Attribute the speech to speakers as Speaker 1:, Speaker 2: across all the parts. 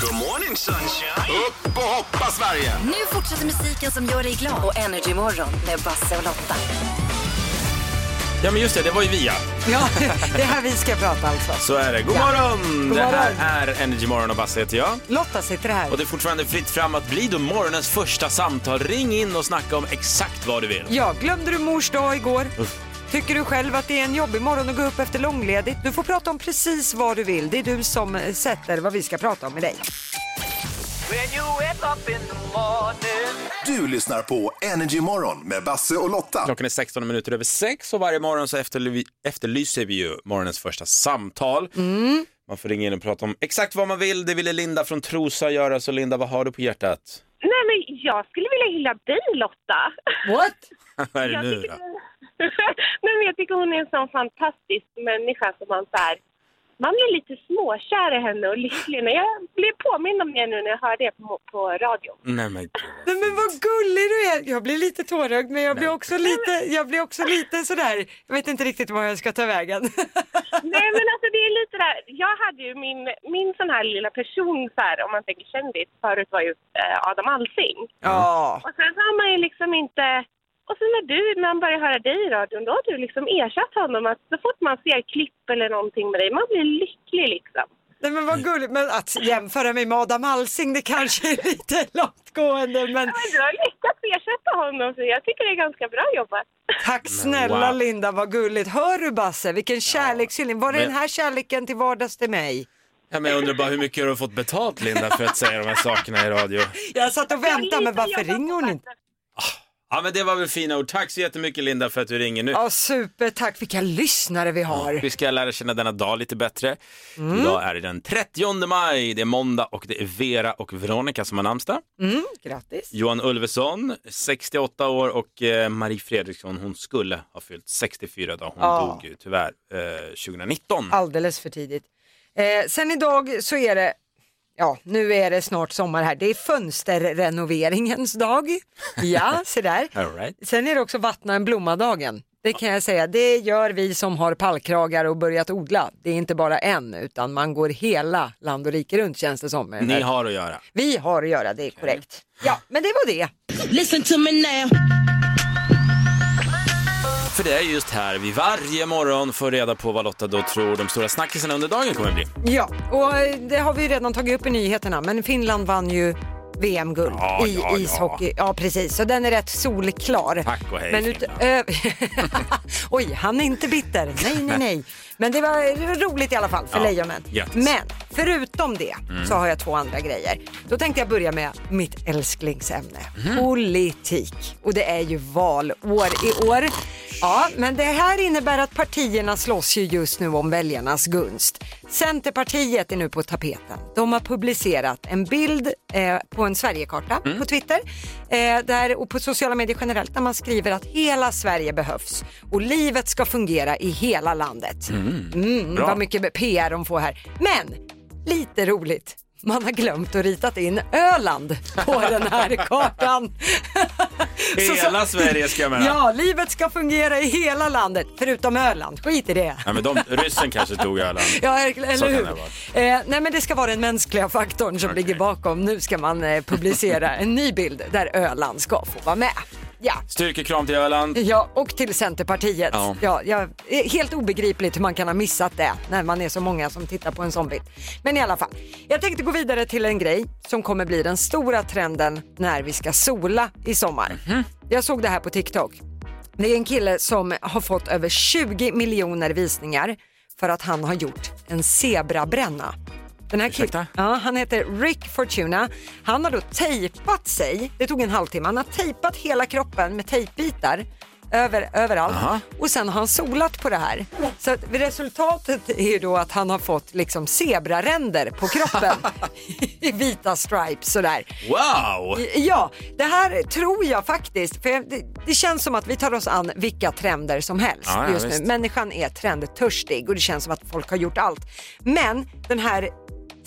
Speaker 1: Good morning sunshine! Upp och hoppa Sverige!
Speaker 2: Nu fortsätter musiken som gör dig glad och Energy Morgon med Basse och Lotta.
Speaker 3: Ja men just det, det var ju via.
Speaker 4: Ja, det är här vi ska prata alltså.
Speaker 3: Så är det. God
Speaker 4: Ja.
Speaker 3: morgon!
Speaker 4: God
Speaker 3: det här
Speaker 4: morgon.
Speaker 3: är Energy Morgon och Basse heter jag.
Speaker 4: Lotta sitter här.
Speaker 3: Och det är fortfarande fritt fram att bli då morgonens första samtal. Ring in och snacka om exakt vad du vill.
Speaker 4: Ja, glömde du mors dag igår? Tycker du själv att det är en jobbig morgon att gå upp efter långledigt? Du får prata om precis vad du vill. Det är du som eh, sätter vad vi ska prata om med dig.
Speaker 1: Du lyssnar på Energy Morgon med Basse och Lotta.
Speaker 3: Klockan är 16 minuter över 6 och varje morgon så efterly- efterlyser vi ju morgonens första samtal.
Speaker 4: Mm.
Speaker 3: Man får ringa in och prata om exakt vad man vill. Det ville Linda från Trosa göra, så Linda vad har du på hjärtat?
Speaker 5: Nej, men jag skulle vilja hylla dig, Lotta.
Speaker 4: What?
Speaker 3: vad är det
Speaker 5: Jag
Speaker 3: nu
Speaker 5: tycker
Speaker 3: då?
Speaker 5: hon- Nej, men jag tycker hon är en sån fantastisk människa som man så här, man blir lite småkär i henne och lycklig. Men Jag blev påmind om det nu när jag hörde det på, på radio.
Speaker 3: Nej men gud.
Speaker 4: Nej, men vad gullig du är! Jag blir lite tårögd men jag blir också lite, jag blir också lite sådär, jag vet inte riktigt var jag ska ta vägen.
Speaker 5: Nej, men alltså det är lite där, jag hade ju min, min sån här lilla person så här, om man tänker kändis, förut var ju eh, Adam Alsing.
Speaker 4: Ja.
Speaker 5: Och sen så har man ju liksom inte... Och sen när, du, när man börjar höra dig i radion, då har du liksom ersatt honom. Att så fort man ser klipp eller någonting med dig, man blir lycklig liksom.
Speaker 4: Nej men vad gulligt, men att jämföra mig med Adam Alsing det kanske är lite långtgående men
Speaker 5: Men du har lyckats ersätta honom, så jag tycker det är ganska bra jobbat.
Speaker 4: Tack snälla
Speaker 3: wow.
Speaker 4: Linda, vad gulligt. Hör du Basse, vilken kärlekshyllning. Var det
Speaker 3: Men-
Speaker 4: den här kärleken till vardags till mig?
Speaker 3: Ja, men jag undrar bara hur mycket har du fått betalt Linda för att säga de här sakerna i radio?
Speaker 4: Jag satt och väntade, men varför
Speaker 5: Jag
Speaker 4: ringer hon
Speaker 5: jobbar
Speaker 4: inte?
Speaker 5: på
Speaker 3: Ja men det var väl fina ord. Tack så jättemycket Linda för att du ringer nu.
Speaker 4: Ja, supertack. Vilka lyssnare vi har.
Speaker 3: Vi ska lära känna denna dag lite bättre.
Speaker 4: Mm.
Speaker 3: Idag är det den 30 maj, det är måndag och det är Vera och Veronica som har namnsdag.
Speaker 4: Mm, grattis.
Speaker 3: Johan Ulveson, 68 år och eh, Marie Fredriksson, hon skulle ha fyllt 64 dagar. Hon
Speaker 4: Ja.
Speaker 3: dog ju tyvärr eh, 2019.
Speaker 4: Alldeles för tidigt. Eh, sen idag så är det Ja, nu är det snart sommar här. Det är fönsterrenoveringens dag. Ja, se där.
Speaker 3: All right.
Speaker 4: Sen är det också vattna en blomma-dagen. Det kan jag säga, det gör vi som har pallkragar och börjat odla. Det är inte bara en, utan man går hela land och rike runt känns det som. med det
Speaker 3: Ni
Speaker 4: där.
Speaker 3: har att göra.
Speaker 4: Vi har att göra, det är korrekt. Ja, men det var det.
Speaker 6: Listen to me now.
Speaker 3: För det är just här vi varje morgon får reda på vad Lotta då tror de stora snackisarna under dagen kommer bli.
Speaker 4: Ja, och eh, det har vi ju redan tagit upp i nyheterna, men Finland vann ju VM-guld
Speaker 3: Ja,
Speaker 4: i
Speaker 3: ja, ja.
Speaker 4: ishockey. Ja. precis. Så den är rätt solklar.
Speaker 3: Tack och hej,
Speaker 4: Men
Speaker 3: Finland.
Speaker 4: utö- Oj, han är inte bitter. Nej, nej, nej. Men det var det var roligt i alla fall för
Speaker 3: Ja, Mm.
Speaker 4: lejonen.
Speaker 3: grattis.
Speaker 4: Men förutom det så har jag två andra grejer. Då tänkte jag börja med mitt älsklingsämne,
Speaker 3: Mhm.
Speaker 4: politik. Och det är ju valår i år. Ja, men det här innebär att partierna slåss ju just nu om väljarnas gunst. Centerpartiet är nu på tapeten. De har publicerat en bild eh, på en Sverigekarta
Speaker 3: Mm.
Speaker 4: på Twitter eh, där, och på sociala medier generellt där man skriver att hela Sverige behövs och livet ska fungera i hela landet. Mm,
Speaker 3: Bra.
Speaker 4: vad mycket PR de får här. Men lite roligt. Man har glömt att ritat in Öland på den här kartan. Så- så-
Speaker 3: Hela Sverige ska jag mena.
Speaker 4: Ja, livet ska fungera i hela landet, förutom Öland. Skit i det.
Speaker 3: Ja, men de, ryssen kanske tog ölen.
Speaker 4: Ja, eller
Speaker 3: kan
Speaker 4: hur?
Speaker 3: det
Speaker 4: Eh, nej, men det ska vara den mänskliga faktorn som ligger bakom. Nu ska man eh, publicera en ny bild där Öland ska få vara med. Ja.
Speaker 3: Styrkekram till Öland.
Speaker 4: Ja, och till Centerpartiet.
Speaker 3: Ja.
Speaker 4: Ja. Ja, eh, helt obegripligt hur man kan ha missat det när man är så många som tittar på en sån bild. Men i alla fall, jag tänkte gå vidare till en grej som kommer bli den stora trenden när vi ska sola i sommar. Jag såg det här på TikTok. Det är en kille som har fått över 20 miljoner visningar för att han har gjort en zebrabränna. Den här
Speaker 3: Ursäkta?
Speaker 4: killen, ja, han heter Rick Fortuna. Han har då tejpat sig, det tog en halvtimme, han har tejpat hela kroppen med tejpbitar över, överallt
Speaker 3: Aha.
Speaker 4: och sen har han solat på det här. Så att resultatet är ju då att han har fått liksom zebraränder på kroppen i vita stripes sådär.
Speaker 3: Wow!
Speaker 4: Ja, det här tror jag faktiskt. För jag- det, det känns som att vi tar oss an vilka trender som helst
Speaker 3: Ja, ja,
Speaker 4: just
Speaker 3: visst.
Speaker 4: nu. Människan är trendtörstig och det känns som att folk har gjort allt. Men den här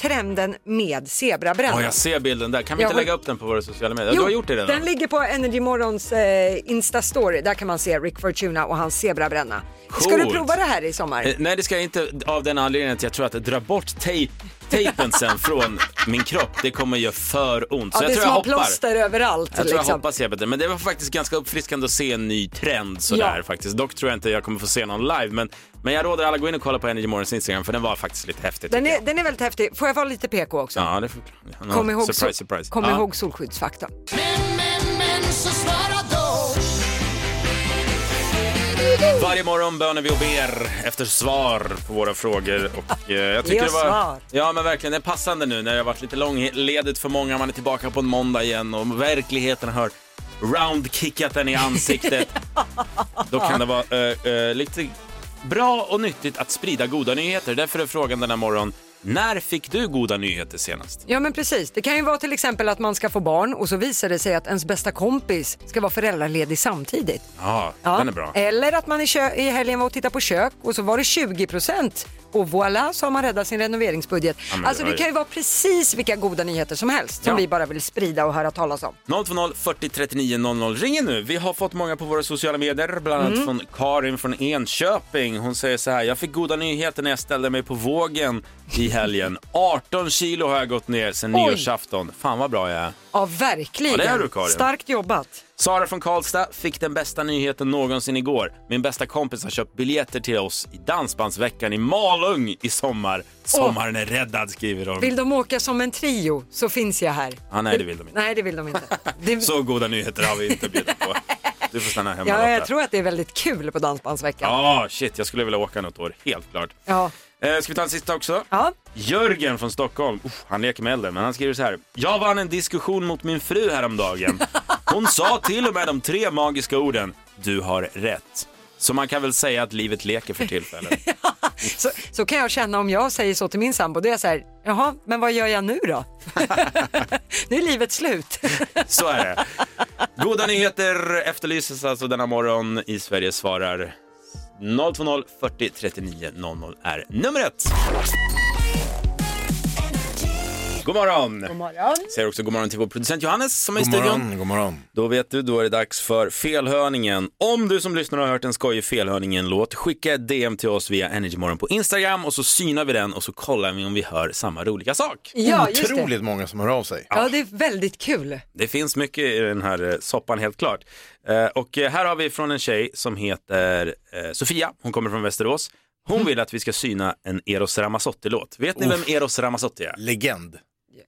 Speaker 4: trenden med zebrabrännan.
Speaker 3: Ja, jag ser bilden där. Kan vi
Speaker 4: Jag
Speaker 3: inte
Speaker 4: har-
Speaker 3: lägga upp den på våra sociala medier? du har gjort det redan.
Speaker 4: Den ligger på Energy Morgons eh, Insta-story. Där kan man se Rick Fortuna och hans zebrabränna. Ska du
Speaker 3: Coolt.
Speaker 4: prova det här i sommar?
Speaker 3: Eh, Nej, det ska jag inte av den anledningen att jag tror att dra bort tejp tejpen sen från min kropp, det kommer göra för ont.
Speaker 4: Ja,
Speaker 3: Så jag
Speaker 4: det
Speaker 3: tror
Speaker 4: är
Speaker 3: jag
Speaker 4: små
Speaker 3: hoppar.
Speaker 4: plåster överallt.
Speaker 3: Jag tror jag
Speaker 4: liksom.
Speaker 3: hoppas jag bättre. Men det var faktiskt ganska uppfriskande att se en ny trend sådär
Speaker 4: Ja.
Speaker 3: faktiskt. Dock tror jag inte jag kommer få se någon live. Men, men jag råder alla gå in och kolla på Energy Mornings Instagram för den var faktiskt lite häftig.
Speaker 4: Den
Speaker 3: tycker
Speaker 4: är, den är väldigt häftig. Får jag vara lite PK också?
Speaker 3: jag. Ja, det får... ja,
Speaker 4: Kom, ihåg,
Speaker 3: surprise,
Speaker 4: sol-
Speaker 3: surprise.
Speaker 4: kom
Speaker 3: ja.
Speaker 4: ihåg solskyddsfaktorn.
Speaker 3: Varje morgon böner vi och ber efter svar på våra frågor. Och, eh, jag
Speaker 4: Ge
Speaker 3: tycker det
Speaker 4: oss
Speaker 3: var,
Speaker 4: svar.
Speaker 3: Ja, men verkligen. Det är passande nu när det har varit lite långledigt för många. Man är tillbaka på en måndag igen och verkligheten har roundkickat en i ansiktet. Då kan det vara eh, eh, lite bra och nyttigt att sprida goda nyheter. Därför är frågan den här morgonen, när fick du goda nyheter senast?
Speaker 4: Ja men precis, det kan ju vara till exempel att man ska få barn och så visar det sig att ens bästa kompis ska vara föräldraledig samtidigt.
Speaker 3: Ja,
Speaker 4: Ja.
Speaker 3: den är bra.
Speaker 4: Eller att man i, kö- i helgen var och tittade på kök och så var det 20 procent och voilà så har man räddat sin renoveringsbudget.
Speaker 3: men
Speaker 4: alltså
Speaker 3: det var ju-
Speaker 4: det kan ju vara precis vilka goda nyheter som helst som
Speaker 3: Ja.
Speaker 4: vi bara vill sprida och höra talas om.
Speaker 3: 020 40 39 00. Ring in nu. Vi har fått många på våra sociala medier, bland annat
Speaker 4: Mm.
Speaker 3: från Karin från Enköping. Hon säger så här. Jag fick goda nyheter när jag ställde mig på vågen i helgen. 18 kilo har jag gått ner sedan
Speaker 4: Oj.
Speaker 3: nyårsafton. Fan vad bra jag är.
Speaker 4: Ja verkligen,
Speaker 3: Ja, det är du, Karin.
Speaker 4: starkt jobbat.
Speaker 3: Sara från Karlstad fick den bästa nyheten någonsin igår. Min bästa kompis har köpt biljetter till oss i Dansbandsveckan i Malung i sommar. Sommaren är räddad skriver hon.
Speaker 4: Vill de åka som en trio så finns jag här.
Speaker 3: Ah, nej, det vill de inte.
Speaker 4: Nej det vill de inte. Det...
Speaker 3: Så goda nyheter har vi inte bjudit på. Du får stanna hemma
Speaker 4: ja, jag
Speaker 3: Lotta.
Speaker 4: tror att det är väldigt kul på Dansbandsveckan.
Speaker 3: Ja, shit, jag skulle vilja åka något år, helt klart.
Speaker 4: Ja.
Speaker 3: Eh, ska vi ta en sista också?
Speaker 4: Ja.
Speaker 3: Jörgen från Stockholm, Uff, han leker med elden, men han skriver så här. Jag vann en diskussion mot min fru häromdagen. Hon sa till och med de tre magiska orden, du har rätt. Så man kan väl säga att livet leker för tillfället.
Speaker 4: Så, så kan jag känna om jag säger så till min sambo, då är jag så här, jaha, men vad gör jag nu då? nu är livet slut.
Speaker 3: Så är det. Goda nyheter efterlyses alltså denna morgon. I Sverige svarar 020 40 39 00 är numret. God morgon! God morgon. Säger också god morgon till vår producent Johannes som är i
Speaker 6: God
Speaker 3: studion.
Speaker 6: morgon, god morgon.
Speaker 3: Då vet du, då är det dags för felhörningen. Om du som lyssnar har hört en skojig felhörningen-låt, skicka ett DM till oss via Energymorgon på Instagram och så synar vi den och så kollar vi om vi hör samma roliga sak.
Speaker 4: Ja, just det.
Speaker 6: Otroligt många som hör av sig.
Speaker 4: Ja, det är väldigt kul.
Speaker 3: Det finns mycket i den här eh, soppan helt klart. Eh, Och eh, här har vi från en tjej som heter eh, Sofia, hon kommer från Västerås. Hon vill att vi ska syna en Eros Ramazzotti-låt. Vet ni vem Eros Ramazzotti är?
Speaker 6: Legend.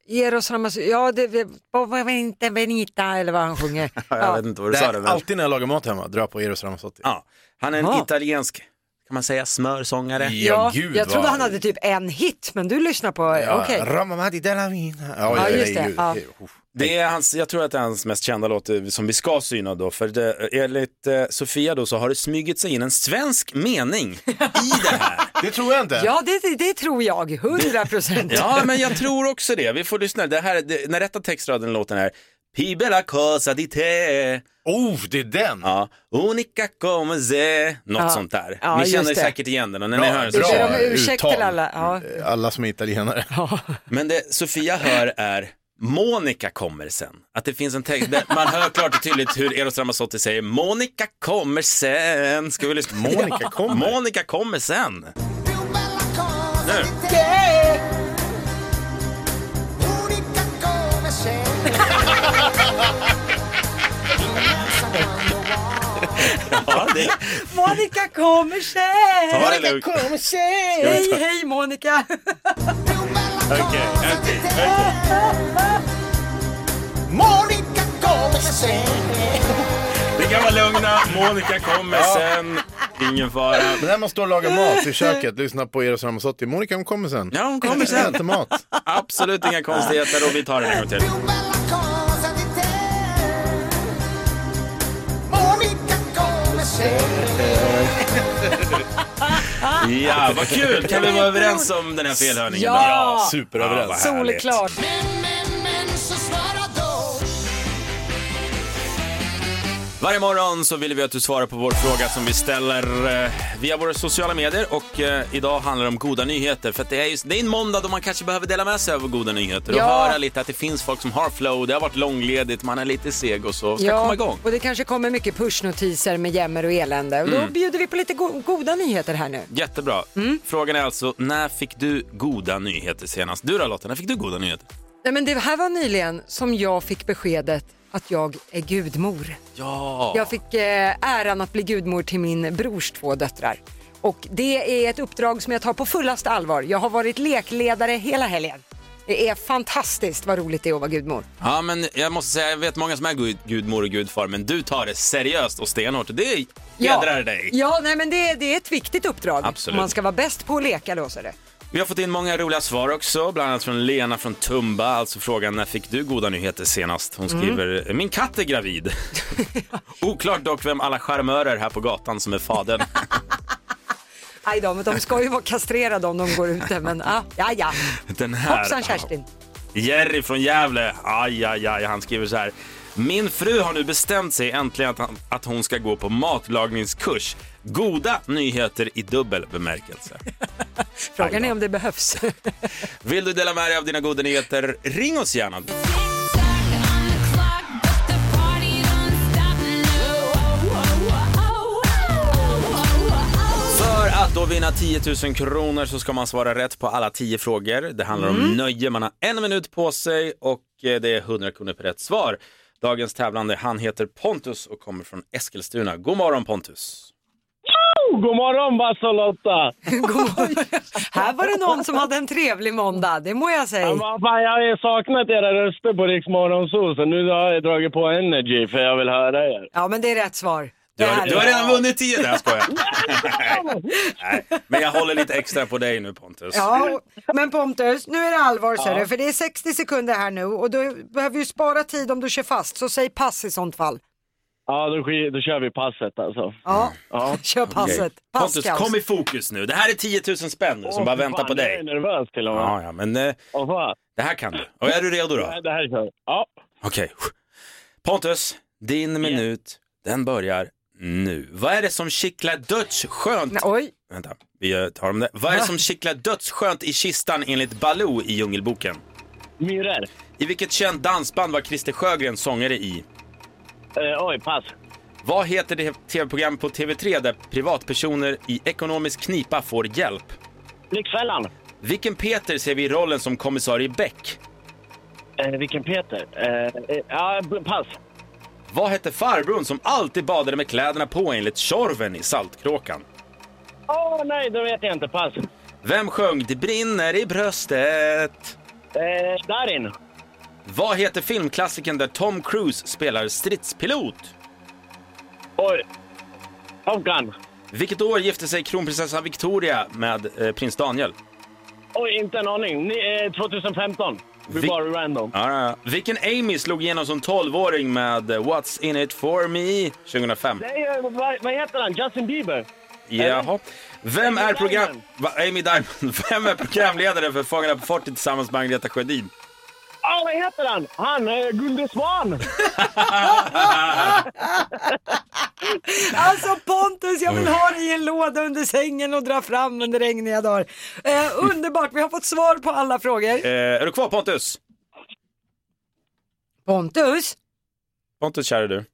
Speaker 4: Eros Ramazzotti, ja, det vad var inte Benita eller vad han sjunger.
Speaker 3: Jag
Speaker 4: Ja.
Speaker 3: vet inte vad du
Speaker 6: Det
Speaker 3: sa.
Speaker 6: här,
Speaker 3: Det, men...
Speaker 6: alltid när jag lagar mat hemma drar jag på Eros Ramazzotti.
Speaker 3: ja. Han är en
Speaker 4: Ja.
Speaker 3: italiensk, kan man säga, smörsångare.
Speaker 4: Ja,
Speaker 6: gud,
Speaker 4: jag trodde
Speaker 6: vad-
Speaker 4: han hade typ en hit, men du lyssnar på,
Speaker 6: Ja,
Speaker 4: okej.
Speaker 6: Ramamadi della mina. Ja,
Speaker 4: Ja,
Speaker 6: ja,
Speaker 4: just
Speaker 6: just
Speaker 4: det, ja.
Speaker 3: Det är hans, jag tror att det är hans mest kända låt eh, som vi ska syna då, för det, enligt eh, Sofia då så har det smugit sig in en svensk mening i det här.
Speaker 6: Det tror jag inte.
Speaker 4: Ja, det, det- det tror jag, 100 procent.
Speaker 3: Ja, men jag tror också det. Vi får lyssna. Det här, det, den rätta textraden i låten är Pibela cosa di te,
Speaker 6: Oh, det är den.
Speaker 3: ja, unica come se, något
Speaker 4: Ja.
Speaker 3: sånt där.
Speaker 4: Ja,
Speaker 3: Ni känner
Speaker 4: just det.
Speaker 3: säkert igen den och när ni
Speaker 6: Bra,
Speaker 3: hör den så
Speaker 6: bra.
Speaker 4: Ber
Speaker 3: känner
Speaker 4: om
Speaker 3: ni.
Speaker 4: ursäkt
Speaker 6: uttal.
Speaker 4: till alla. Ja.
Speaker 6: Alla som är italienare.
Speaker 3: Men det Sofia hör är Monica kommer sen. Att det finns en text där man hör klart och tydligt hur Eros Ramazzotti säger Monica kommer sen. Ska vi lyssna?
Speaker 6: Monica kommer.
Speaker 3: Monica kommer sen. Ja, det,
Speaker 4: Monica kommer sen!
Speaker 3: ta det lugnt.
Speaker 4: Hej, hej Monica!
Speaker 3: Okej, en till, en till. Ni kan vara lugna, Monica kommer sen. Ingen fara.
Speaker 6: Men när man står och lagar mat i köket, lyssnar på Eros Ramazzotti. Monica hon kommer sen.
Speaker 3: Ja, hon kommer
Speaker 6: Jag
Speaker 3: sen.
Speaker 6: äter mat.
Speaker 3: Absolut inga konstigheter och vi tar den en gång till. Ja, vad kul! Kan vi vara överens om den här felhörningen?
Speaker 4: Ja.
Speaker 3: Ja, vad
Speaker 6: Superöverens.
Speaker 3: härligt.
Speaker 4: Solklart.
Speaker 3: Vad Varje morgon så vill vi att du svarar på vår fråga som vi ställer eh, via våra sociala medier och eh, idag handlar det om goda nyheter för att det är, just, det är en måndag då man kanske behöver dela med sig av goda nyheter och
Speaker 4: Ja.
Speaker 3: höra lite att det finns folk som har flow, det har varit långledigt, man är lite seg och så ska komma igång.
Speaker 4: och det kanske kommer mycket pushnotiser med jämmer och elände. Och då
Speaker 3: Mm.
Speaker 4: bjuder vi på lite go- goda nyheter här nu.
Speaker 3: Jättebra. Frågan är alltså, när fick du goda nyheter senast? Du då Lotta, när fick du goda nyheter?
Speaker 4: Nej, men det här var nyligen som jag fick beskedet att jag är gudmor.
Speaker 3: Ja,
Speaker 4: Jag fick eh, äran att bli gudmor till min brors två döttrar. Och det är ett uppdrag som jag tar på fullast allvar. Jag har varit lekledare hela helgen. Det är fantastiskt vad roligt det är att vara gudmor.
Speaker 3: ja men jag måste säga, jag vet många som är gud, gudmor och gudfar, men du tar det seriöst och stenhårt. Det hedrar dig.
Speaker 4: Ja, nej, men det, det är ett viktigt uppdrag.
Speaker 3: Absolut.
Speaker 4: Om man ska vara bäst på att leka då så är det.
Speaker 3: Vi har fått in många roliga svar också, bland annat från Lena från Tumba. Alltså frågan när fick du goda nyheter senast?
Speaker 4: Mm.
Speaker 3: Hon skriver, min katt är gravid. Oklart dock vem alla charmörer här på gatan som är fadern.
Speaker 4: Aj då, men de ska ju vara kastrerade om de går ute. Men ah, ja, ja.
Speaker 3: Den här,
Speaker 4: Hoppsan Kerstin.
Speaker 3: Jerry från Gävle, aj, aj, aj, han skriver så här. Min fru har nu bestämt sig äntligen att, han, att hon ska gå på matlagningskurs. Goda nyheter i dubbel bemärkelse.
Speaker 4: Frågan är om det behövs.
Speaker 3: Vill du dela med dig av dina goda nyheter? Ring oss gärna. För att då vinna 10 000 kronor så ska man svara rätt på alla 10 frågor. Det handlar om nöje, man har en minut på sig och eh, det är 100 kronor per rätt svar. Dagens tävlande, han heter Pontus och kommer från Eskilstuna. God morgon Pontus!
Speaker 7: God morgon Basse och Lotta!
Speaker 4: här var det någon som hade en trevlig måndag, det må jag säga.
Speaker 7: Ja, vad fan, Jag har ju saknat era röster på Rix Morgonzoo, så nu har jag dragit på Energy för jag vill höra er.
Speaker 4: Ja, men det är rätt svar.
Speaker 3: Du
Speaker 4: Det
Speaker 3: har,
Speaker 4: här
Speaker 3: du
Speaker 4: är-
Speaker 3: har redan vunnit 10, nej jag skojar. Nej, men jag håller lite extra på dig nu Pontus.
Speaker 4: Ja, men Pontus, nu är det allvar ser du, för det är 60 sekunder här nu och du behöver ju spara tid om du kör fast, så säg pass i sånt fall.
Speaker 7: Ja, då, sk- då kör vi passet alltså.
Speaker 4: Ja,
Speaker 7: Ja.
Speaker 4: kör passet.
Speaker 3: Okej. Pontus,
Speaker 4: Passkaos.
Speaker 3: kom i fokus nu. Det här är 10 000 spänn nu som bara
Speaker 7: Åh,
Speaker 3: väntar
Speaker 7: fan,
Speaker 3: på
Speaker 7: Jag
Speaker 3: dig.
Speaker 7: är nervös till och med.
Speaker 3: Ja, ja, men eh,
Speaker 7: Åh, fan.
Speaker 3: det här kan du. Och är du redo då?
Speaker 7: Nej, Det här kör vi. Ja.
Speaker 3: Okej. Pontus, din minut, den börjar nu. Vad är det som kittlar dödsskönt?
Speaker 4: Nej, Oj,
Speaker 3: Vänta, vi eh, tar om det. Vad är det som kittlar dödsskönt i kistan enligt Baloo i Djungelboken?
Speaker 7: Myror.
Speaker 3: I vilket känt dansband var Christer Sjögren sångare i?
Speaker 7: Eh, oj, pass.
Speaker 3: Vad heter det tv-program på TV3 där privatpersoner i ekonomisk knipa får hjälp?
Speaker 7: Lyxfällan.
Speaker 3: Vilken Peter ser vi i rollen som kommissarie Beck?
Speaker 7: Eh, vilken Peter? Eh, eh, ja, b- pass.
Speaker 3: Vad hette farbrorn som alltid badade med kläderna på enligt Tjorven i Saltkråkan?
Speaker 7: Åh nej, det vet jag inte. Pass.
Speaker 3: Vem sjöng Det brinner i bröstet?
Speaker 7: Eh, Darin.
Speaker 3: Vad heter filmklassikern där Tom Cruise spelar stridspilot?
Speaker 7: Oj. Top Gun.
Speaker 3: Vilket år gifte sig kronprinsessan Victoria med eh, prins Daniel?
Speaker 7: Oj, inte en aning. Ni, eh, 2015. Vi
Speaker 3: Vi-
Speaker 7: bara random.
Speaker 3: Ja, ja, ja. Vilken Amy slog igenom som 12-åring med eh, What's in it for me 2005?
Speaker 7: Nej, eh, vad, vad heter han? Justin Bieber?
Speaker 3: Jaha. Vem
Speaker 7: Amy
Speaker 3: är program...
Speaker 7: Diamond.
Speaker 3: Va, Amy Diamond. Vem är programledare för Fångarna på fortet tillsammans med Agneta Sjödin?
Speaker 7: Ja, vad heter han? Han, eh, Gunde Svan!
Speaker 4: alltså Pontus, jag vill ha dig i en låda under sängen och dra fram under regniga dagar. Eh, underbart, vi har fått svar på alla frågor.
Speaker 3: Eh, är du kvar Pontus?
Speaker 4: Pontus,
Speaker 3: Pontus, kära du.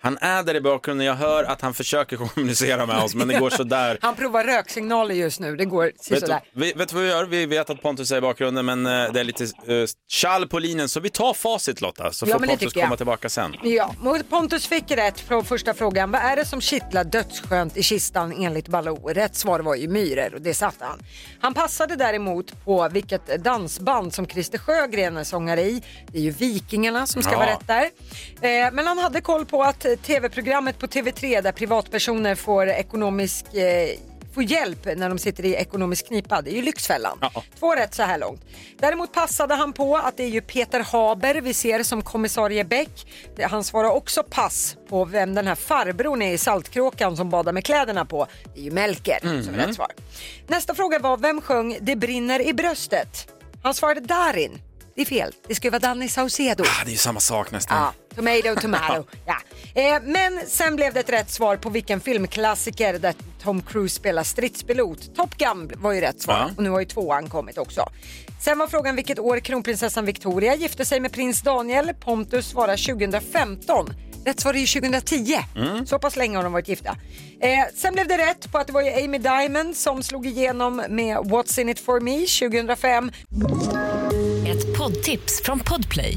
Speaker 3: Han är där i bakgrunden. Jag hör att han försöker kommunicera med oss, men det går sådär.
Speaker 4: han provar röksignaler just nu, det går
Speaker 3: Vet du,
Speaker 4: sådär.
Speaker 3: vi, vet du vad vi gör? Vi vet att Pontus är i bakgrunden, men eh, det är lite eh, tjall på linjen. Så vi tar facit Lotta, så
Speaker 4: Ja,
Speaker 3: får
Speaker 4: men det
Speaker 3: Pontus
Speaker 4: tycker jag.
Speaker 3: komma tillbaka sen.
Speaker 4: Ja, och Pontus fick rätt från första frågan. Vad är det som kittlar dödsskönt i kistan enligt Baloo? Rätt svar var ju myror och det satte han. Han passade däremot på vilket dansband som Christer Sjögren är sångare i. Det är ju Vikingarna som ska
Speaker 3: Ja.
Speaker 4: vara rätt där. Eh, men han hade koll på att eh, tv-programmet på TV3 där privatpersoner får ekonomisk eh, får hjälp när de sitter i ekonomisk knipa. Det är ju Lyxfällan.
Speaker 3: Ja.
Speaker 4: Två rätt så här långt. Däremot passade han på att det är ju Peter Haber vi ser som kommissarie Bäck. Det- Han svarar också pass på vem den här farbrorn är i Saltkråkan som badar med kläderna på. Det är ju Melker som är rätt svar. Nästa fråga var vem sjöng Det brinner i bröstet? Han svarade Darin. Det är fel. Det ska ju vara Danny Saucedo.
Speaker 3: Ah, det är ju samma sak nästan.
Speaker 4: Ja, tomato, tomato. ja. eh, men sen blev det ett rätt svar på vilken filmklassiker där Tom Cruise spelar stridspilot. Top Gun var ju rätt svar
Speaker 3: Ja.
Speaker 4: och nu har ju tvåan kommit också. Sen var frågan vilket år kronprinsessan Victoria gifte sig med prins Daniel. Pontus svarar 2015. Rätt svar är ju 2010. Så pass länge har de varit gifta. Eh, sen blev det rätt på att det var ju Amy Diamond som slog igenom med What's in it for me 2005.
Speaker 8: Ett poddtips från Podplay.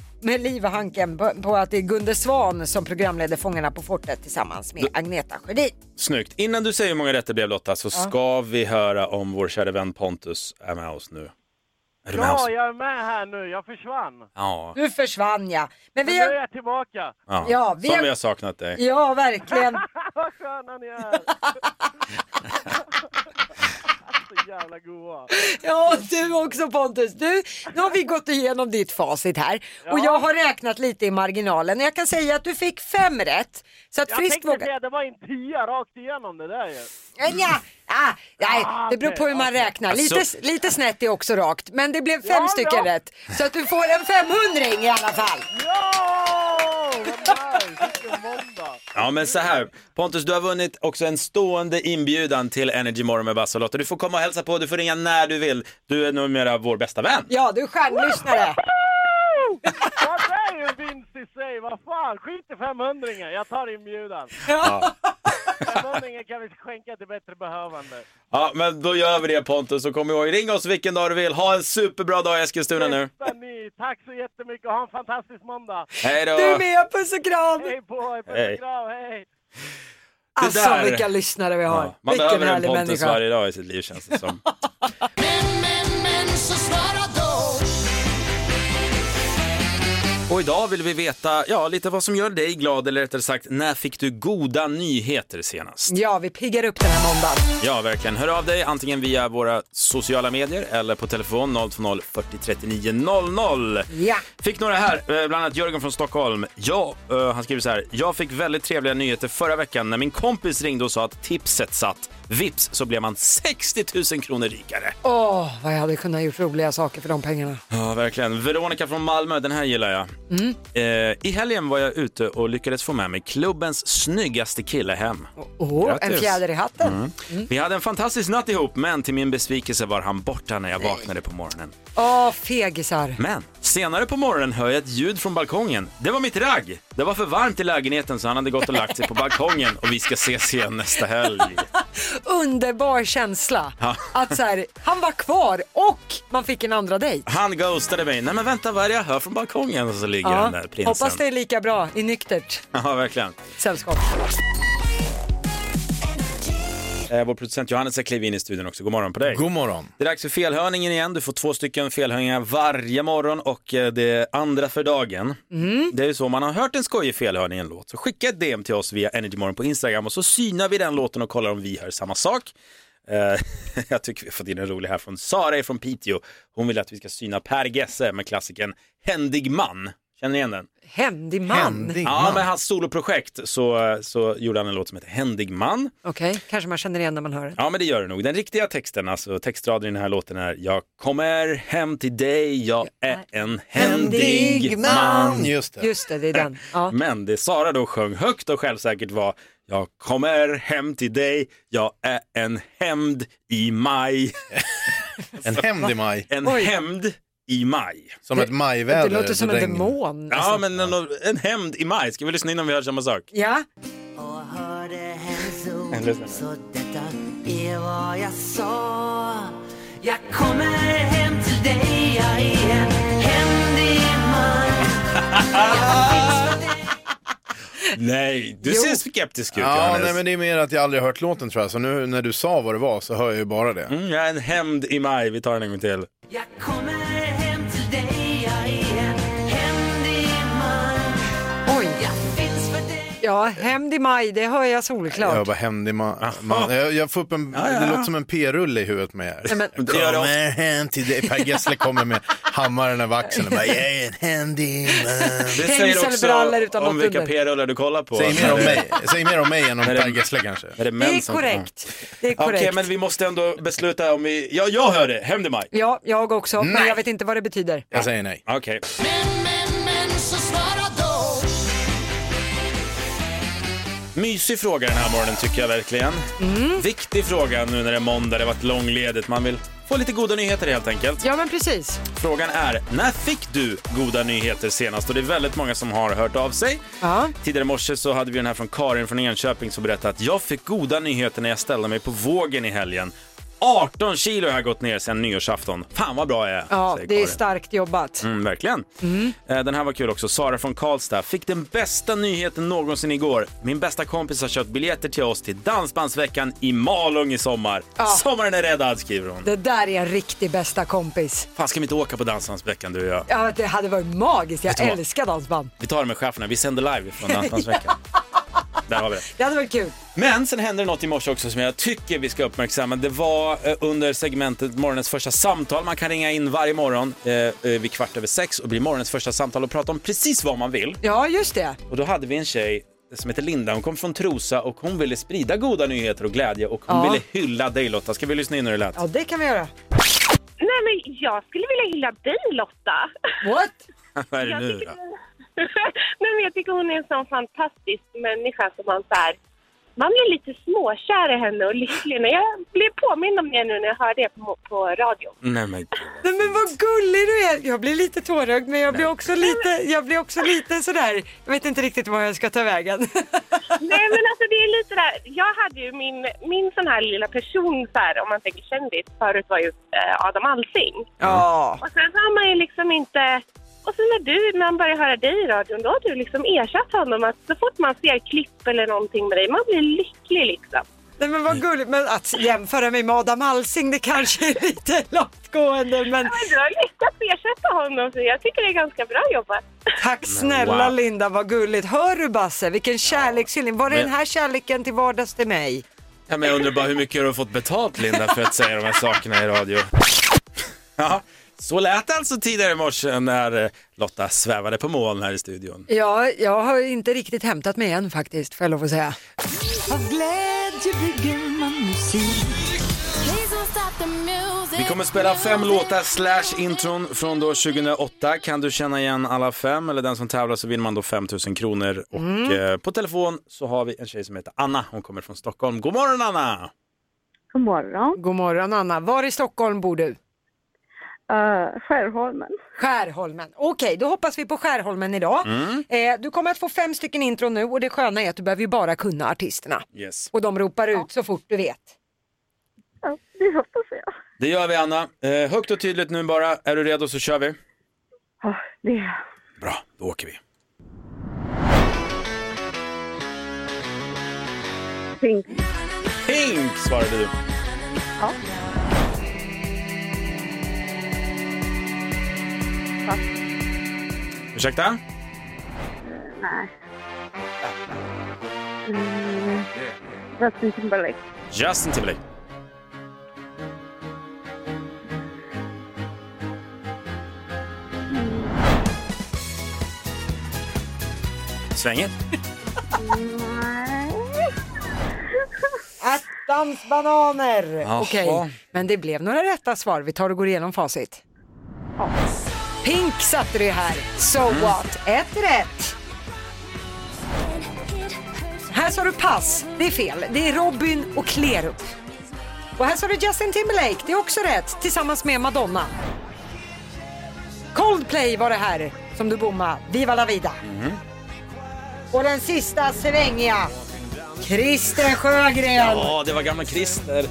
Speaker 4: med Liv och Hanken på, på att det är Gunde Svan som programleder Fångarna på fortet tillsammans med Agneta Sjödin.
Speaker 3: Snyggt. Innan du säger hur många rätt det blev Lotta så ska vi höra om vår kära vän Pontus är med oss nu. Är du med oss?
Speaker 7: Ja, jag är med här nu. Jag försvann.
Speaker 3: Ja.
Speaker 4: Du försvann ja. Men vi
Speaker 7: Nu är
Speaker 4: har...
Speaker 7: jag tillbaka.
Speaker 3: ja.
Speaker 4: Ja, vi
Speaker 3: Som
Speaker 4: har-
Speaker 3: vi har saknat dig.
Speaker 4: Ja, verkligen.
Speaker 7: Vad sköna ni är. Så jävla goa.
Speaker 4: Ja, du också Pontus. Du, nu har vi gått igenom ditt facit här och jag har räknat lite i marginalen. Jag kan säga att du fick fem rätt. Så att
Speaker 7: Jag
Speaker 4: frisk
Speaker 7: tänkte
Speaker 4: vågar...
Speaker 7: det, det var en tia rakt igenom det där ju.
Speaker 4: Ja, ja, ja, nej,
Speaker 7: Ah,
Speaker 4: det beror på hur man räknar. Lite,
Speaker 3: Alltså-
Speaker 4: lite snett är också rakt, men det blev fem
Speaker 7: Ja,
Speaker 4: stycken
Speaker 7: ja.
Speaker 4: rätt. Så att du får en 500 i alla fall.
Speaker 7: Ja! Vad nice! Vilken måndag.
Speaker 3: Ja, men så här. Pontus, du har vunnit också en stående inbjudan till Energy Morgon med Basse och Lotta. Du får komma och hälsa på, du får ringa när du vill. Du är numera vår bästa vän.
Speaker 4: Ja, du är stjärnlyssnare.
Speaker 7: Ja, det är ju en vinst i sig. Vad fan, skit i 500 Jag tar inbjudan. 500 kan vi skänka till bättre behövande.
Speaker 3: Ja, men då gör vi det Pontus och kom ihåg, ring oss vilken dag du vill. Ha en superbra dag i Eskilstuna nu.
Speaker 7: Bästa ni. Tack så jättemycket och ha en fantastisk måndag.
Speaker 3: Hej då!
Speaker 4: Du är med, puss och kram.
Speaker 7: Hej på er, puss
Speaker 3: Hej.
Speaker 7: och kram, hej!
Speaker 4: Alltså
Speaker 3: där.
Speaker 4: vilka lyssnare vi har.
Speaker 3: Ja, man
Speaker 4: Vilken
Speaker 3: behöver en
Speaker 4: härlig
Speaker 3: Pontus
Speaker 4: människa.
Speaker 3: varje dag i sitt liv känns det som. Och idag vill vi veta ja, lite vad som gör dig glad eller rättare sagt när fick du goda nyheter senast?
Speaker 4: Ja, vi piggar upp den här måndagen.
Speaker 3: Ja, verkligen. Hör av dig antingen via våra sociala medier eller på telefon 020 40 39 00.
Speaker 4: Ja.
Speaker 3: Fick några här, eh, bland annat Jörgen från Stockholm. Ja, eh, han skriver så här. Jag fick väldigt trevliga nyheter förra veckan när min kompis ringde och sa att tipset satt. Vips så blev man 60 000 kronor rikare.
Speaker 4: Åh, vad jag hade kunnat gjort roliga saker för de pengarna.
Speaker 3: Ja, verkligen. Veronica från Malmö, den här gillar jag.
Speaker 4: Mm.
Speaker 3: Eh, I helgen var jag ute och lyckades få med mig klubbens snyggaste kille hem.
Speaker 4: Åh, mm. en
Speaker 3: Grattis. Mm.
Speaker 4: fjäder i hatten.
Speaker 3: Vi hade en fantastisk natt ihop, men till min besvikelse var han borta när jag vaknade på morgonen.
Speaker 4: Åh, fegisar.
Speaker 3: Men senare på morgonen hör jag ett ljud från balkongen. Det var mitt ragg! Det var för varmt i lägenheten så han hade gått och lagt sig på balkongen och vi ska ses igen nästa helg.
Speaker 4: Underbar känsla. Att så här, han var kvar och man fick en andra dejt.
Speaker 3: Han ghostade mig. Nej men vänta, vad är det jag hör från balkongen? Och så ligger han Ah, där, prinsen.
Speaker 4: Hoppas det är lika bra i nyktert
Speaker 3: Ja, verkligen.
Speaker 4: sällskap.
Speaker 3: Eh, vår producent Johannes har klivit in i studion också. God morgon på dig.
Speaker 6: God morgon.
Speaker 3: Det är dags för felhörningen igen. Du får två stycken felhörningar varje morgon och eh, det andra för dagen.
Speaker 6: Mm.
Speaker 3: Det är ju så, om man har hört en skojig felhörning i en låt så skicka ett DM till oss via Energymorgon på Instagram och så synar vi den låten och kollar om vi hör samma sak. Eh, Jag tycker vi har fått in en rolig här från Sara från Piteå. Hon vill att vi ska syna Per Gesse med klassikern Händig man. Känner ni igen den?
Speaker 4: Händig man.
Speaker 6: Händig
Speaker 3: Ja,
Speaker 6: man.
Speaker 3: med hans soloprojekt så, eh, så gjorde han en låt som heter Händig man.
Speaker 4: Okej, kanske man känner igen när man hör det.
Speaker 3: Ja, men det gör det nog. Den riktiga texten, alltså textraden i den här låten är Jag kommer hem till dig, jag är en händig man.
Speaker 6: Just det.
Speaker 4: Just det, det är den. Ja.
Speaker 3: Men det Sara då sjöng högt och självsäkert var Jag kommer hem till dig, jag är en hämnd i maj.
Speaker 6: En hämnd i maj.
Speaker 3: En
Speaker 4: Oj.
Speaker 3: hämnd i maj.
Speaker 6: Som ett
Speaker 4: Det
Speaker 6: majväder.
Speaker 4: låter som en
Speaker 6: regn.
Speaker 4: demon. alltså.
Speaker 3: Ja, men en, en hämnd i maj. Ska vi lyssna innan vi hör samma sak?
Speaker 4: Ja. Mm.
Speaker 3: Lyssna.
Speaker 9: Jag kommer hem till dig, jag är en händig man.
Speaker 3: Nej, du
Speaker 4: Jo.
Speaker 3: ser skeptisk ut,
Speaker 6: Ja,
Speaker 3: Johannes.
Speaker 6: nej, men det är mer att jag aldrig hört låten tror jag. Så nu när du sa vad det var så hör jag ju bara det.
Speaker 3: Mm, jag är en hämnd i maj. Vi tar den en gång till.
Speaker 9: Jag kommer hem till dig, jag är en händig
Speaker 4: Ja, hämnd i maj, det hör jag solklart.
Speaker 6: Jag bara hämnd man. man. Jag, jag får upp en,
Speaker 4: Ja, ja,
Speaker 6: det
Speaker 4: ja.
Speaker 6: låter som en p-rulle i huvudet med er.
Speaker 4: Nej, men- Det gör det
Speaker 6: kommer hem till dig. Per Gessle kommer med hammaren över axeln och bara, jag är en handy man.
Speaker 3: Det säger också
Speaker 4: utan
Speaker 3: om
Speaker 4: något
Speaker 3: vilka
Speaker 4: under.
Speaker 3: p-rullar du kollar på.
Speaker 6: Säg mer om mig- säg mer om mig än om Per
Speaker 3: Gessle
Speaker 6: kanske.
Speaker 3: Är det,
Speaker 4: Det
Speaker 3: män
Speaker 4: är
Speaker 3: som-
Speaker 4: korrekt. Det är
Speaker 3: Ja. Okej,
Speaker 4: korrekt.
Speaker 3: men vi måste ändå besluta om vi... Ja, jag hör det. Hämnd i maj.
Speaker 4: Ja, jag också, men
Speaker 3: Nej.
Speaker 4: jag vet inte vad det betyder.
Speaker 6: Jag säger nej.
Speaker 3: Okej. Mysig fråga den här morgonen tycker jag verkligen.
Speaker 4: Mm.
Speaker 3: Viktig fråga nu när det är måndag, det har varit långledigt. Man vill få lite goda nyheter helt enkelt.
Speaker 4: Ja, men precis.
Speaker 3: Frågan är, när fick du goda nyheter senast? Och det är väldigt många som har hört av sig. Tidigare i morse så hade vi den här från Karin från Enköping som berättade att jag fick goda nyheter när jag ställde mig på vågen i helgen. 18 kilo har jag gått ner sedan nyårsafton. Fan vad bra jag är,
Speaker 4: Ja,
Speaker 3: säger
Speaker 4: det är
Speaker 3: Karin.
Speaker 4: starkt jobbat.
Speaker 3: Mm, verkligen. Eh, Den här var kul också. Sara från Karlstad fick den bästa nyheten någonsin igår. Min bästa kompis har köpt biljetter till oss till Dansbandsveckan i Malung i sommar.
Speaker 4: Ja.
Speaker 3: Sommaren är räddad, skriver hon.
Speaker 4: Det där är en riktig bästa kompis.
Speaker 3: Fan, ska vi inte åka på Dansbandsveckan, du och jag?
Speaker 4: Ja, det hade varit magiskt.
Speaker 3: Vet
Speaker 4: Jag
Speaker 3: du vad?
Speaker 4: älskar dansband.
Speaker 3: Vi tar det med cheferna. Vi sänder live från Dansbandsveckan. Där har vi det.
Speaker 4: Det hade varit kul.
Speaker 3: Men sen hände det något i morse också som jag tycker vi ska uppmärksamma. Det var eh, under segmentet morgonens första samtal. Man kan ringa in varje morgon eh, eh, vid kvart över sex och bli morgonens första samtal och prata om precis vad man vill.
Speaker 4: Ja, just det.
Speaker 3: Och då hade vi en tjej som heter Linda. Hon kom från Trosa och hon ville sprida goda nyheter och glädje och hon
Speaker 4: Ja.
Speaker 3: ville hylla dig Lotta. Ska vi lyssna in hur det lät?
Speaker 4: Ja, det kan vi göra.
Speaker 5: Nej, men jag skulle vilja hylla dig Lotta.
Speaker 4: What?
Speaker 3: Vad är det nu då?
Speaker 5: Nej, men jag tycker hon är en sån fantastisk människa som man så här, man blir lite småkär i henne och lycklig. När jag blir påmind om det nu när jag hör det på, på radion.
Speaker 3: Nej men
Speaker 4: Nej, men vad gullig du är. Jag blir lite tårögd, men jag blir också lite, jag blir också lite sådär. Jag vet inte riktigt var jag ska ta vägen.
Speaker 5: Nej men alltså det är lite där, jag hade ju min, min sån här lilla person så här, om man tänker kändis, förut var ju eh, Adam Alsing.
Speaker 4: Ja.
Speaker 5: Och sen så har man ju liksom inte, och sen när du, när man börjar höra dig i radion, då har du liksom ersatt honom att så fort man ser klipp eller någonting med dig, man blir lycklig liksom.
Speaker 4: Nej, men vad gulligt. Men att jämföra mig med Adam Alsing, det kanske är lite långtgående, men
Speaker 5: Men du har lyckats ersätta honom så jag tycker det är ganska bra jobbat.
Speaker 4: tack snälla
Speaker 3: wow.
Speaker 4: Linda, vad gulligt. Hör du Basse, vilken kärlekshyllning. Var det
Speaker 3: Men-
Speaker 4: den här kärleken till vardags till mig?
Speaker 3: Ja, men jag undrar bara hur mycket har du fått betalt Linda för att säga de här sakerna i radio? Ja, så lät det alltså tidigare i morse när eh, Lotta svävade på moln här i studion.
Speaker 4: Ja, jag har inte riktigt hämtat mig än faktiskt, får jag lov att säga.
Speaker 3: Vi kommer spela fem låtar slash intron från då 2008. Kan du känna igen alla fem eller den som tävlar så vinner man då 5 000 kronor. Och eh, på telefon så har vi en tjej som heter Anna. Hon kommer från Stockholm. God morgon Anna!
Speaker 10: God morgon.
Speaker 4: God morgon Anna. Var i Stockholm bor du?
Speaker 10: Uh, Skärholmen.
Speaker 4: Skärholmen. Okej, då hoppas vi på Skärholmen idag. Eh, du kommer att få fem stycken intro nu och det sköna är att du behöver ju bara kunna artisterna.
Speaker 3: Yes.
Speaker 4: Och de ropar ut så fort du vet.
Speaker 10: Ja, det hoppas jag.
Speaker 3: Det gör vi Anna. Eh, högt och tydligt nu bara. Är du redo så kör vi.
Speaker 10: Ja, det...
Speaker 3: Bra, då åker vi.
Speaker 10: Pink.
Speaker 3: Pink svarade du.
Speaker 10: Ja.
Speaker 3: Ursäkta?
Speaker 10: Nej. Mm. Justin Timberlake.
Speaker 3: Justin Timberlake. Svänger.
Speaker 10: Nej.
Speaker 4: Attans bananer!
Speaker 3: Jaha.
Speaker 4: Okej, men det blev några rätta svar. Vi tar och går igenom facit.
Speaker 10: Ja.
Speaker 4: Pink satte du här. So what? Ett rätt. Här sa du pass. Det är fel. Det är Robin och Klerup. Och här sa du Justin Timberlake. Det är också rätt. Tillsammans med Madonna. Coldplay var det här som du bommade. Viva la vida. Och den sista svängiga. Christer Sjögren.
Speaker 3: Ja, det var gamla Christer.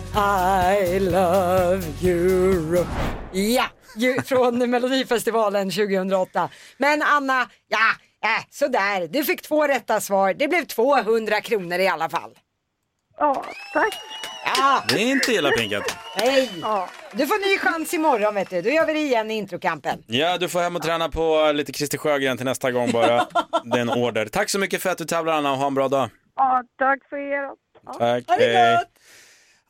Speaker 4: I love Europe. Ja, ju, från Melodifestivalen 2008. Men Anna, ja, äh, sådär. Du fick två rätta svar. Det blev 200 kronor i alla fall.
Speaker 5: Ja, tack.
Speaker 4: Ja.
Speaker 3: Det är inte illa pinkat.
Speaker 4: Nej! Du får ny chans imorgon vet du. Då gör vi det igen i introkampen.
Speaker 3: Ja, du får hem och träna på lite Christer Sjögren till nästa gång bara. Det är en order. Tack så mycket för att du tävlar Anna och ha en bra dag.
Speaker 5: Ja, tack för er. Ja.
Speaker 3: Tack.
Speaker 5: Ha det gott.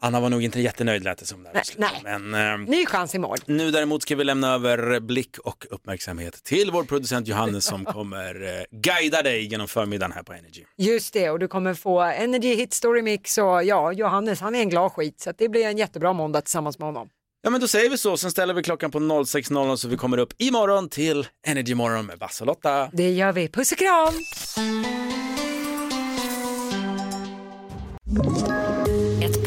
Speaker 3: Anna var nog inte jättenöjd lät det som där.
Speaker 4: Nej.
Speaker 3: Men ehm,
Speaker 4: Ny chans imorgon.
Speaker 3: nu däremot ska vi lämna över blick och uppmärksamhet till vår producent Johannes som kommer eh, guida dig genom förmiddagen här på Energy.
Speaker 4: Just det, och du kommer få Energy Hit Story Mix och ja, Johannes han är en glad skit så att det blir en jättebra måndag tillsammans med honom.
Speaker 3: Ja men då säger vi så, sen ställer vi klockan på 06.00 så vi kommer upp imorgon till Energy Morgon med Basse och Lotta.
Speaker 4: Det gör vi. Puss och kram!
Speaker 9: Ett